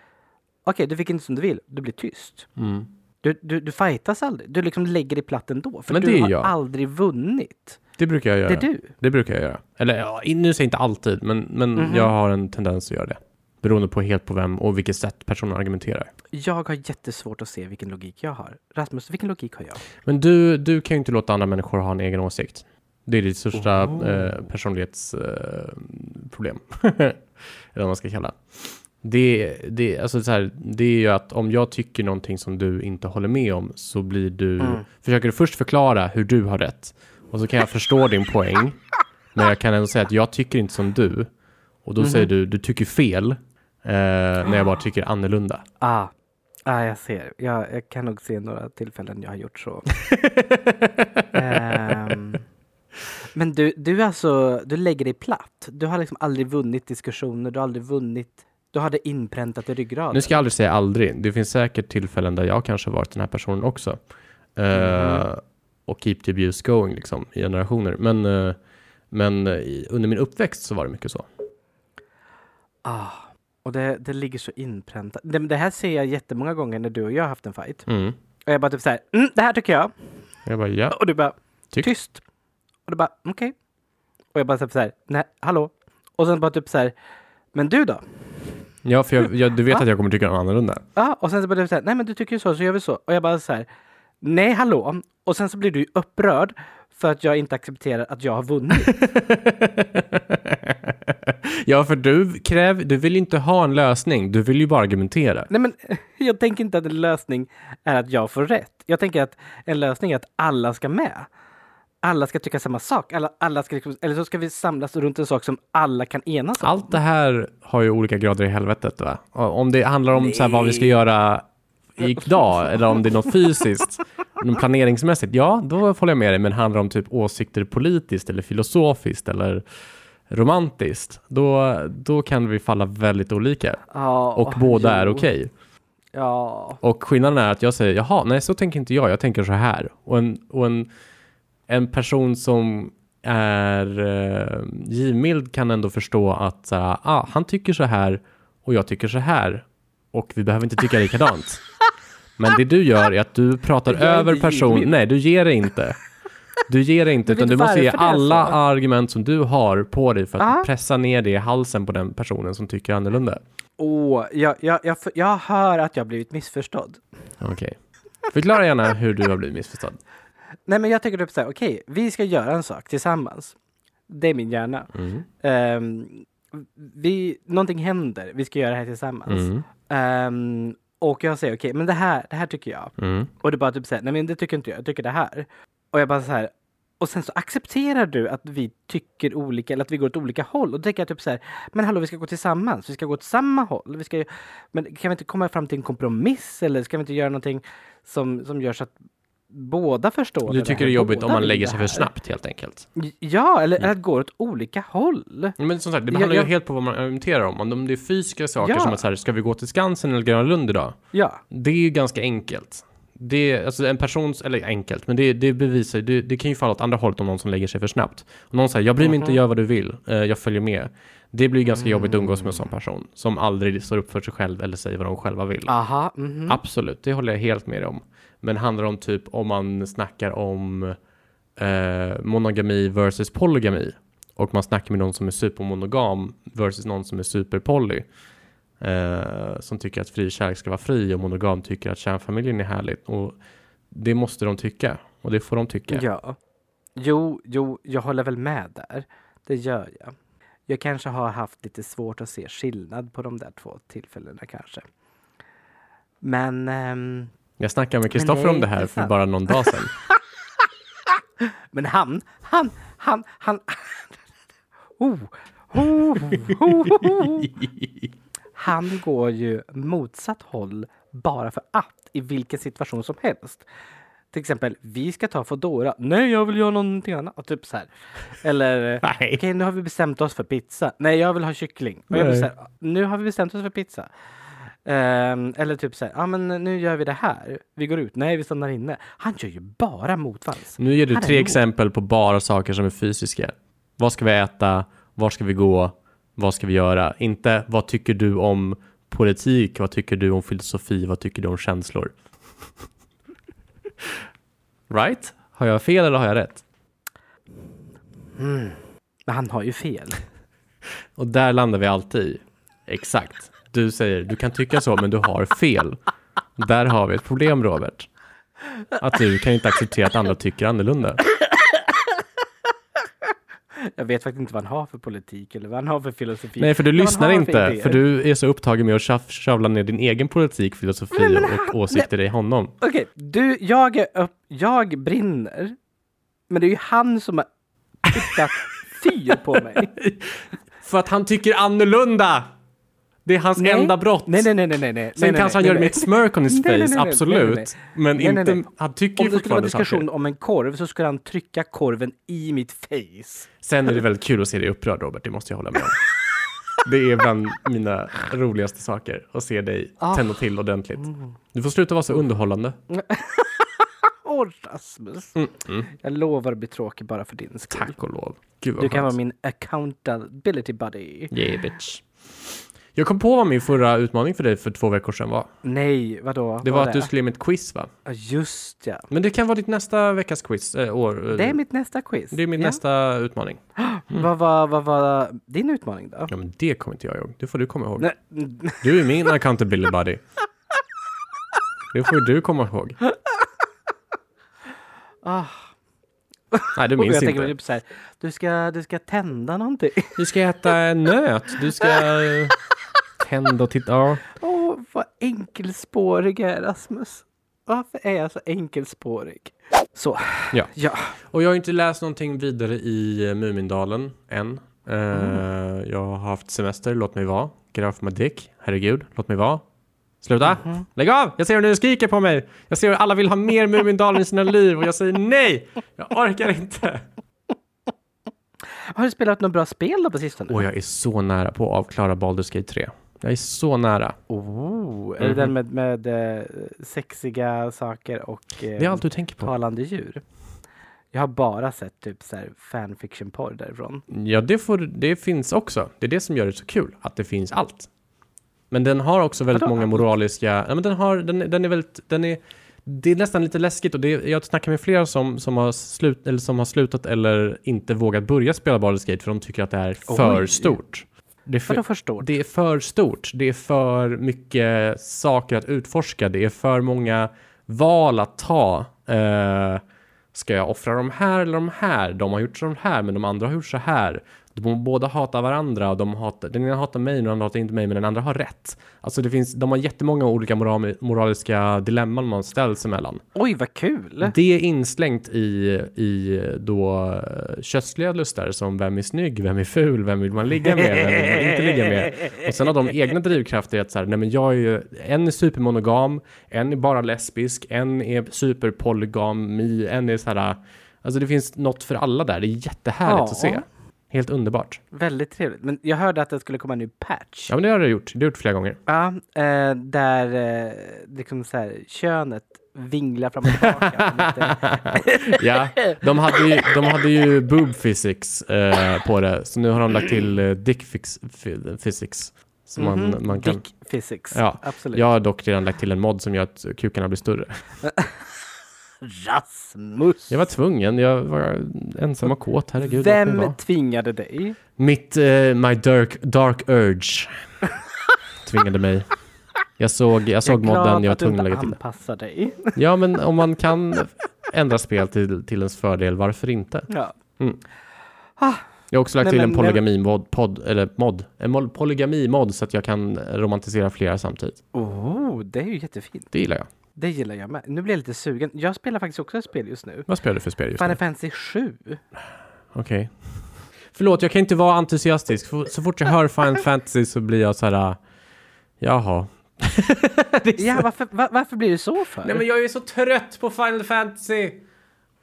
B: okej du fick inte som du vill, du blir tyst.
A: Mm.
B: Du, du, du fightas aldrig, du liksom lägger dig platt ändå, för
A: Men det
B: du
A: är
B: har
A: jag.
B: aldrig vunnit.
A: Det brukar jag göra.
B: Det är du.
A: Det brukar jag göra. Eller ja, i- nu säger jag inte alltid, men, men
B: Mhm.
A: jag har en tendens att göra det. Beroende på helt på vem och vilket sätt personen argumenterar.
B: Jag har jättesvårt att se vilken logik jag har. Rasmus, vilken logik har jag?
A: Men du, du kan ju inte låta andra människor ha en egen åsikt. Det är ditt största
B: Oh.
A: eh, personlighetsproblem. Eller vad man ska kalla det. Det, alltså så här, det är ju att om jag tycker någonting som du inte håller med om så blir du...
B: Mm.
A: Försöker du först förklara hur du har rätt och så kan jag förstå din poäng. Men jag kan ändå säga att jag tycker inte som du. Och då säger du, du tycker fel. Eh, när jag bara tycker annorlunda.
B: Ah, ah jag ser. Jag, jag kan nog se några tillfällen jag har gjort så. Ehm, men du, du, är alltså, du lägger dig platt. Du har liksom aldrig vunnit diskussioner, du har aldrig vunnit... Du har det inpräntat i ryggraden.
A: Nu ska jag aldrig säga aldrig. Det finns säkert tillfällen där jag kanske varit den här personen också. Eh, Och keep the abuse going liksom i generationer. Men, eh, men eh, i- under min uppväxt så var det mycket så.
B: Ah, och det, det ligger så inpräntat. Det, det här ser jag jättemånga gånger när du och jag har haft en fight.
A: Mm.
B: Och jag bara typ så här, mm, det här tycker jag.
A: Jag bara, ja.
B: Och du bara
A: Tyck.
B: tyst. Och du bara okej. Och jag bara typ så här, nej, hallå. Och sen bara typ så här, men du då?
A: ja för jag, jag, du vet att jag kommer tycka annorlunda.
B: Ja, och sen så bara typ så här, nej men du tycker ju så, så gör vi så. Och jag bara så här, nej hallå. Och sen så blir du ju upprörd för att jag inte accepterar att jag har vunnit.
A: ja, för du, kräv, du vill ju inte ha en lösning. Du vill ju bara argumentera.
B: nej men jag tänker inte att en lösning är att jag får rätt. Jag tänker att en lösning är att alla ska med. Alla ska tycka samma sak. Alla, alla ska liksom, eller så ska vi samlas runt en sak som alla kan enas om.
A: Allt det här har ju olika grader i helvetet va? Och Om det handlar om så här, vad vi ska göra i idag eller om det är något fysiskt, något planeringsmässigt, ja då håller jag med dig. Men handlar det om typ åsikter politiskt eller filosofiskt eller romantiskt, då, då kan vi falla väldigt olika.
B: Ja,
A: Och båda är
B: jo.
A: okej.
B: Ja,
A: Och skillnaden är att jag säger jaha, nej så tänker inte jag, jag tänker så här. Och en, och en, en person som är eh, givmild kan ändå förstå att så här, ah, han tycker så här och jag tycker så här och vi behöver inte tycka likadant. Men det du gör är att du pratar
B: Jag är
A: över
B: inte
A: person,
B: givmild.
A: nej du ger det inte. Du ger det inte
B: Du vet
A: utan du måste ge
B: varför det är
A: alla
B: så.
A: argument som du har på dig för att
B: Ja.
A: pressa ner det i halsen på den personen som tycker annorlunda.
B: åh, jag, jag, jag, jag hör att jag blivit missförstådd.
A: Okej. Förklara gärna hur du har blivit missförstådd.
B: Nej, men jag tycker typ så här, okej, vi ska göra en sak tillsammans. Det är min hjärna.
A: Mm.
B: Ehm, vi, någonting händer, vi ska göra det här tillsammans.
A: Mm.
B: Ehm, och jag säger okej, men det här, det här tycker jag.
A: Mm.
B: Och du bara typ säger nej men det tycker inte jag, jag tycker det här. Och jag bara så här. Och sen så accepterar du att vi tycker olika eller att vi går åt olika håll. Och då tänker jag typ så här, men hallå vi ska gå tillsammans, vi ska gå åt samma håll. Vi ska, men kan vi inte komma fram till en kompromiss eller ska vi inte göra någonting som, som gör så att båda förstår?
A: Du
B: det
A: tycker
B: här,
A: det är jobbigt
B: båda
A: om man
B: vill
A: lägger
B: det
A: sig
B: här.
A: för snabbt helt enkelt.
B: Ja, eller eller att gå åt olika håll.
A: Men som sagt, det
B: Ja,
A: handlar
B: ja.
A: ju helt på vad man argumenterar om. Om det är fysiska saker
B: Ja.
A: som att så här, ska vi gå till Skansen eller Gröna Lund idag?
B: Ja,
A: Det är ju ganska enkelt. Det är, alltså en persons, eller enkelt, men det, det bevisar ju- det, det kan ju falla åt andra hållet om någon som lägger sig för snabbt. Om någon säger, jag bryr mig
B: Mhm.
A: inte, gör vad du vill, eh, jag följer med. Det blir ju ganska jobbigt
B: Mm.
A: att umgås med en sån person, som aldrig står upp för sig själv eller säger vad de själva vill.
B: aha, mhm.
A: Absolut, det håller jag helt med dig om. Men handlar om typ om man snackar om eh, monogami versus polygami och man snackar med någon som är supermonogam versus någon som är superpoly eh, som tycker att fri kärlek ska vara fri och monogam tycker att kärnfamiljen är härligt och det måste de tycka och det får de tycka.
B: Ja. Jo, jo, jag håller väl med där. Det gör jag. Jag kanske har haft lite svårt att se skillnad på de där två tillfällena kanske. Men ehm,
A: Jag snackade med Kristoffer
B: nej,
A: om det här för
B: intressant.
A: bara någon dag sedan.
B: Men han, han, han, han... Oh, oh, oh, oh. Han går ju motsatt håll bara för att i vilken situation som helst. Till exempel, vi ska ta Foodora. Nej, jag vill göra någonting annat. Och typ så här. Eller,
A: Nej.
B: okej, nu har vi bestämt oss för pizza. Nej, jag vill ha kyckling. Och jag blir
A: Nej.
B: så här, nu har vi bestämt oss för pizza. Ehm, eller typ så här, ja ah, men nu gör vi det här. Vi går ut. Nej, vi stannar inne. Han gör ju bara motvalls.
A: Nu ger du
B: Han är
A: tre
B: emot.
A: exempel på bara saker som är fysiska. Vad ska vi äta? Var ska vi gå? Vad ska vi göra? Inte vad tycker du om politik? Vad tycker du om filosofi? Vad tycker du om känslor? right? Har jag fel eller har jag rätt?
B: Men han har ju fel.
A: Och där landar vi alltid i. Exakt. Du säger du kan tycka så men du har fel. Där har vi ett problem Robert. Att du kan inte acceptera att andra tycker annorlunda.
B: Jag vet faktiskt inte vad han har för politik eller vad han har för filosofi.
A: Nej, för du
B: Vad han
A: lyssnar
B: har
A: inte,
B: idéer.
A: för du är så upptagen med att tjaf- sjabbla ner din egen politik, filosofi
B: men
A: och åsikter i honom.
B: Okej, du, jag, är upp, jag brinner. Men det är ju han som har tittat fyr på mig.
A: För att han tycker annorlunda! Det är hans
B: Nej.
A: enda brott.
B: Nej, nej, nej, nej, nej, nej.
A: Sen
B: nej,
A: kanske han
B: nej,
A: gör det
B: nej.
A: med ett smirk on his face,
B: Nej, nej, nej, nej,
A: absolut.
B: nej, nej.
A: Men
B: Nej, nej,
A: inte,
B: nej.
A: han tycker
B: Om
A: ju
B: det skulle vara
A: fortfarande
B: diskussion
A: saker.
B: om en korv så skulle han trycka korven i mitt face.
A: Sen är det väldigt kul att se dig upprörd Robert, det måste jag hålla med om. Det är bland mina roligaste saker, att se dig
B: Ah.
A: tända till ordentligt. Du får sluta vara så underhållande.
B: Åh, Rasmus. Jag lovar att bli tråkig bara för din skull.
A: Mm, Tack och lov. Gud vad
B: Du kan
A: skönt.
B: vara min accountability buddy.
A: Yeah bitch. Jag kom på vad min förra utmaning för dig för två veckor sedan var.
B: Nej, vadå?
A: Det
B: Vad
A: var att du skulle ge mig ett quiz va?
B: Ja, Just ja.
A: Men det kan vara ditt nästa veckas quiz. Äh, år, eh,
B: Det är mitt nästa quiz.
A: det är min
B: Ja.
A: nästa Mm. utmaning.
B: Vad var vad var din utmaning då?
A: Ja men det kommer inte jag ihåg. Det får du komma ihåg.
B: Nej,
A: Du är min accountability buddy. Det får du komma ihåg.
B: Ah.
A: Nej du
B: och jag
A: minns
B: tänker mig
A: inte.
B: typ så här, du ska, du ska tända någonting.
A: Du ska äta en nöt. Du ska eh, tända och titta. Ja.
B: Åh, vad enkelspårig jag är Rasmus. Varför är jag så enkelspårig? Så.
A: Ja.
B: Ja.
A: Och jag har inte läst någonting vidare i eh, Mumindalen än. Eh, Jag har haft semester, låt mig vara. Get off my dick, herregud, låt mig vara. Sluta! Lägg av! Jag ser hur ni skriker på mig! Jag ser hur alla vill ha mer Mumindalen i sina liv och jag säger nej! Jag orkar inte!
B: Har du spelat något bra spel då på sistone?
A: Och jag är så nära på att avklara Baldur's Gate 3. Jag är så nära.
B: Oh, är det den
A: Mhm.
B: med, med eh, sexiga saker och eh,
A: Det är allt du tänker på.
B: talande djur? Jag har bara sett typ så här fanfiction-porr därifrån.
A: Ja, det, får, det finns också. Det är det som gör det så kul, att det finns allt. Men den har också väldigt
B: Vadå
A: många
B: allt?
A: moraliska... Ja, men den, har, den, den är väldigt... Den är, det är nästan lite läskigt och det, jag snackar med flera som, som, har slut, eller som har slutat eller inte vågat börja spela Baldur's Gate för de tycker att det är för
B: Oj.
A: stort. Det är för,
B: Vadå förstår?
A: det är för stort. Det är för mycket saker att utforska. Det är för många val att ta. Eh, ska jag offra de här eller de här? De har gjort så de här, men de andra har gjort så här. De båda hatar varandra. Och de hatar, den ena hatar mig och den andra hatar inte mig, men den andra har rätt. Alltså det finns, de har jättemånga olika moral, moraliska dilemman man ställs emellan.
B: Oj, vad kul!
A: Det är inslängt i, i då eh, kötsliga lustar som vem är snygg, vem är ful, vem vill man ligga med, vem vill man inte ligga med. Och sen har de egna drivkrafter i att så här, nej men jag är ju, en är supermonogam, en är bara lesbisk, en är superpolygami, en är så här, alltså det finns något för alla där, det är jättehärligt
B: Ja.
A: att se. Helt underbart.
B: Väldigt trevligt. Men jag hörde att det skulle komma en ny patch.
A: Ja men det har jag gjort, det har jag gjort flera gånger.
B: Ja, eh, där eh, liksom så här, könet vinglar fram och tillbaka. men inte-
A: Ja, de hade ju, de hade ju boob physics eh, på det, så nu har de lagt till eh, dick fix, fi- physics. Så man, man kan...
B: Mhm. Dick physics.
A: Ja,
B: Absolut.
A: Jag har dock redan lagt till en mod som gör att kukarna blir större.
B: Rasmus!
A: Jag var tvungen, jag var ensam och kåt, herregud. låt mig
B: Vem
A: vara.
B: tvingade dig?
A: Mitt, eh, my dark, dark urge tvingade mig. Jag såg, jag såg
B: glad
A: modden, jag var
B: att du
A: tvungen
B: inte
A: att lägga till det.
B: anpassar dig.
A: Ja, men om man kan ändra spel till, till ens fördel, varför inte?
B: Ja.
A: Jag har också lagt
B: Nej,
A: till
B: men-
A: en polygamimod, podd, eller mod, en mol- polygamimod så att jag kan romantisera flera samtidigt.
B: Oh, det är ju jättefint.
A: Det gillar jag.
B: Det gillar jag med. Nu blir jag lite sugen. Jag spelar faktiskt också ett spel just nu.
A: Vad spelar du för spel just nu?
B: Final Fantasy 7.
A: Okej. Förlåt, jag kan inte vara entusiastisk. F- Så fort jag hör Final Fantasy så blir jag så här, äh, jaha.
B: Ja, varför, va- varför blir det så för?
A: jag är så trött på Final Fantasy!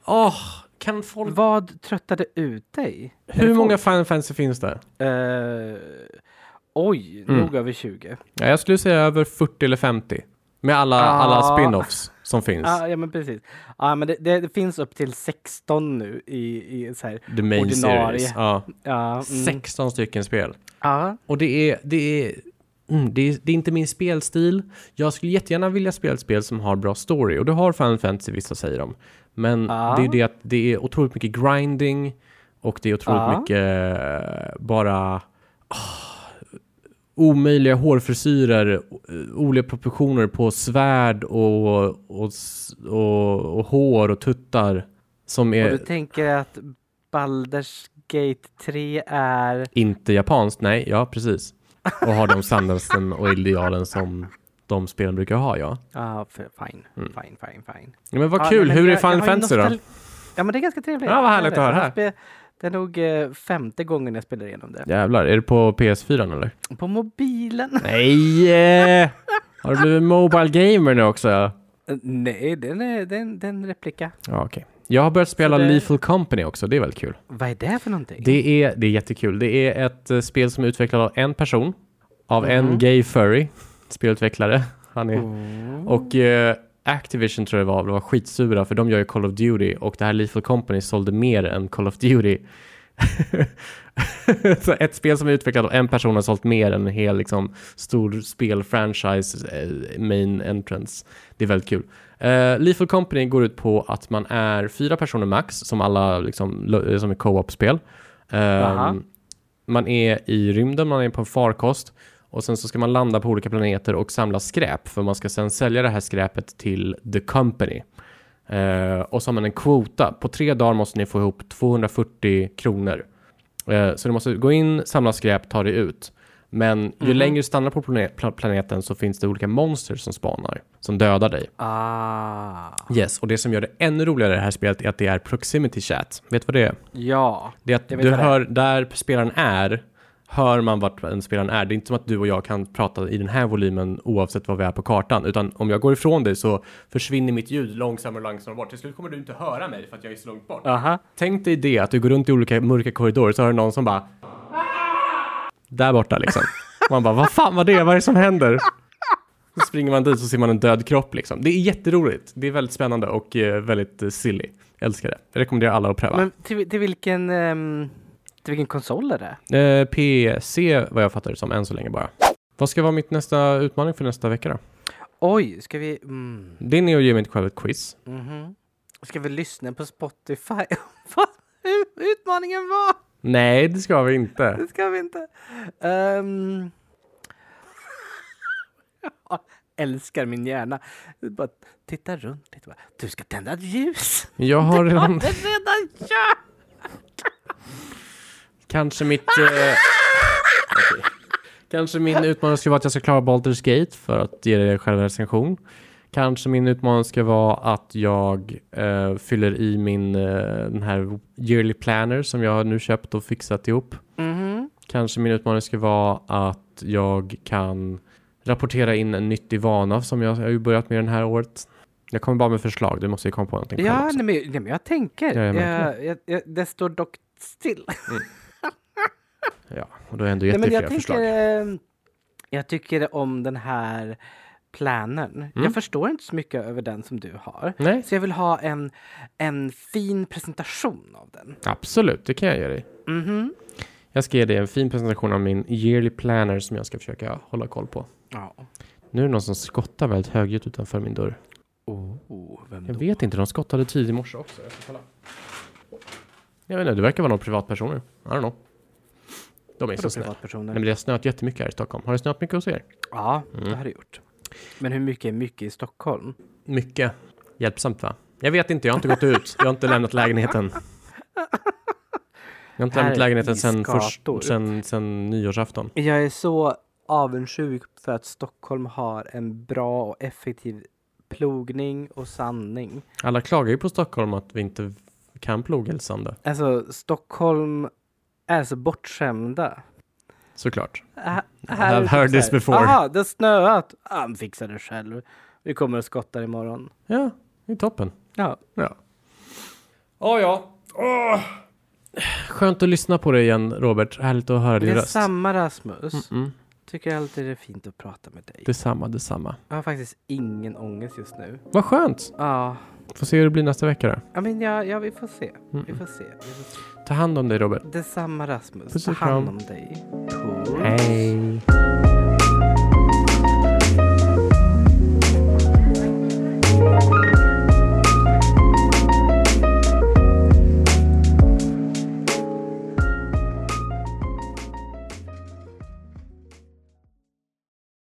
A: Åh, kan folk...
B: Vad tröttade ut dig?
A: Hur många Final Fantasy finns det?
B: Eh, oj,
A: Mm.
B: nog över 20.
A: Ja, jag skulle säga över 40 eller 50. Med alla,
B: Ah.
A: alla spin-offs som finns.
B: Ja, ja, men precis. Ja, men det, det, det finns upp till 16 nu i, i så här.
A: The main
B: Ordinarie.
A: series. Ja.
B: Ja, mm,
A: 16 stycken spel.
B: ja,
A: Och det är, det är, mm, det är, det är inte min spelstil. Jag skulle jättegärna vilja spela ett spel som har bra story och det har Final Fantasy vissa säger de. Men
B: Ja.
A: det är ju det att det är otroligt mycket grinding och det är otroligt
B: Ja.
A: mycket eh, bara ah, omöjliga hårfrisyrer, o- olika proportioner på svärd och, och, s- och, och hår och tuttar som
B: och
A: är
B: du tänker att Baldur's Gate 3 är...
A: Inte japanskt, nej, ja precis. Och har de sandelsen och idealen som de spelen brukar ha, ja.
B: Ja, för fine, fine, fine, fine.
A: ja men Mm. vad
B: Ja,
A: kul,
B: nej, men
A: hur
B: jag-
A: är
B: jag
A: Final
B: har ju
A: Fantasy då?
B: nostal- Ja, men det är ganska trevligt.
A: Ja, vad härligt att höra.
B: Jag spe- Det är nog eh, femte gången jag spelar igenom det.
A: Jävlar, är det på PS4 eller?
B: På mobilen?
A: Nej! eh, Har du blivit mobile gamer nu också? Ja,
B: Eh, Nej, den är, den, den replika.
A: okej. Jag har börjat spela
B: Så det-
A: Lethal Company också, det är väldigt kul.
B: Vad är det för någonting?
A: Det är, det är jättekul. Det är ett eh, spel som är utvecklat av en person, av
B: Mhm.
A: en gay furry spelutvecklare. Han är... Och eh, Activision tror jag det var, de var skitsura för de gör ju Call of Duty och det här Lethal Company sålde mer än Call of Duty. så ett spel som är utvecklat av en person har sålt mer än en hel liksom, stor spelfranchise eh, main entrance. Det är väldigt kul. Uh, Lethal Company går ut på att man är fyra personer max, som alla liksom, lo- eh, som är co-op-spel.
B: Aha.
A: Ehm, man är i rymden, man är på en farkost och sen så ska man landa på olika planeter och samla skräp för man ska sen sälja det här skräpet till The Company. Eh, och så har man en kvota. På tre dagar måste ni få ihop 240 kronor. Eh, så du måste gå in, samla skräp, ta dig ut. Men ju längre du stannar på plane- pla- planeten så finns det olika monster som spanar, som dödar dig.
B: Ah,
A: Yes, och det som gör det ännu roligare i det här spelet är att det är proximity chat. Vet du vad det är?
B: ja.
A: Det är att
B: Jag vet
A: du
B: vad det är.
A: hör där spelaren är hör man vart den spelaren är. Det är inte som att du och jag kan prata i den här volymen oavsett var vi är på kartan, utan om jag går ifrån dig så försvinner mitt ljud långsammare och långsammare bort. Till slut kommer du inte höra mig för att jag är så långt bort.
B: Aha.
A: Tänk dig det, att du går runt i olika mörka korridorer så har du någon som bara... Där borta liksom. Man bara, vad fan var det? Vad är det som händer? Så springer man dit så ser man en död kropp liksom. Det är jätteroligt. Det är väldigt spännande och eh, väldigt eh, silly. Jag älskar det. Jag rekommenderar alla att pröva.
B: Men till, till vilken... ehm, till vilken konsol är det?
A: Eh, PC vad jag fattar det som än så länge bara. Vad ska vara mitt nästa utmaning för nästa vecka då?
B: Oj, ska vi... Mm,
A: Din är att ge mig själv ett quiz.
B: mhm. Ska vi lyssna på Spotify? Vad hur utmaningen var?
A: Nej, det ska vi inte.
B: Det ska vi inte. Ehm. Jag älskar min hjärna. Bara titta runt lite. Bara. Du ska tända ett ljus.
A: Jag har
B: Har
A: redan
B: det redan kört?
A: kanske mitt... Eh... okej. Kanske min utmaning ska vara att jag ska klara Baldur's Gate för att ge dig själv en recension. Kanske min utmaning ska vara att jag eh, fyller i min eh, den här yearly planner som jag har nu köpt och fixat ihop.
B: Mhm.
A: Kanske min utmaning ska vara att jag kan rapportera in en nyttig vana som jag jag har ju börjat med den här året. Jag kommer bara med förslag, du måste ju komma på någonting själv också.
B: Ja, nej, men, nej, men jag tänker.
A: Ja, jag
B: jag, jag, jag, det står dock still.
A: Ja, och då har jag ändå
B: Nej,
A: gett
B: men
A: dig flera
B: jag, tänker,
A: förslag.
B: ehm, jag tycker om den här planen.
A: Mm.
B: Jag förstår inte så mycket över den som du har.
A: Nej,
B: Så jag vill ha en, en fin presentation av den.
A: absolut, det kan jag ge dig.
B: Mhm.
A: Jag ska ge dig en fin presentation av min yearly planner som jag ska försöka hålla koll på.
B: Ja.
A: Nu är det någon som skottar väldigt högljutt utanför min dörr.
B: Oh, vem
A: Jag vet inte, de skottade tidigt i morse också. Jag, ska kolla. jag vet inte, det verkar vara några privatpersoner. I don't know. De är så
B: Vadå
A: snälla.
B: privatpersoner?
A: Nej, men det har snöat jättemycket här i Stockholm. Har det snöat mycket hos er?
B: Ja, det
A: Mm.
B: har det gjort. Men hur mycket är mycket i Stockholm?
A: Mycket. Hjälpsamt va? Jag vet inte, jag har inte gått ut. Jag har inte lämnat lägenheten. Jag har inte
B: Här
A: lämnat
B: är
A: lägenheten sen, först,
B: isgator.
A: sen, sen nyårsafton.
B: Jag är så avundsjuk för att Stockholm har en bra och effektiv plogning och sandning.
A: Alla klagar ju på Stockholm att vi inte kan plogelsande.
B: Alltså, Stockholm är så bortskämda.
A: Såklart.
B: Ä-
A: I've heard this before.
B: Jaha, det har snöat. Han fixar det själv. Vi kommer och skottar imorgon.
A: Ja, det är toppen.
B: Ja.
A: Ja. Oh, ja. Åh. Skönt att lyssna på dig igen Robert. Härligt att höra
B: Det
A: din
B: är
A: röst.
B: samma Rasmus.
A: Mm.
B: Tycker alltid det är fint att prata med dig.
A: Detsamma, detsamma.
B: Jag har faktiskt ingen ångest just nu.
A: Vad skönt.
B: Ja,
A: Får se hur det blir nästa vecka då.
B: ja men ja, ja, vi får se.
A: Mm.
B: Vi får se. Vi får se.
A: Ta hand om dig Robert.
B: Detsamma Rasmus.
A: Puss
B: Ta
A: och
B: hand
A: kram.
B: om dig. Puss.
A: Hej.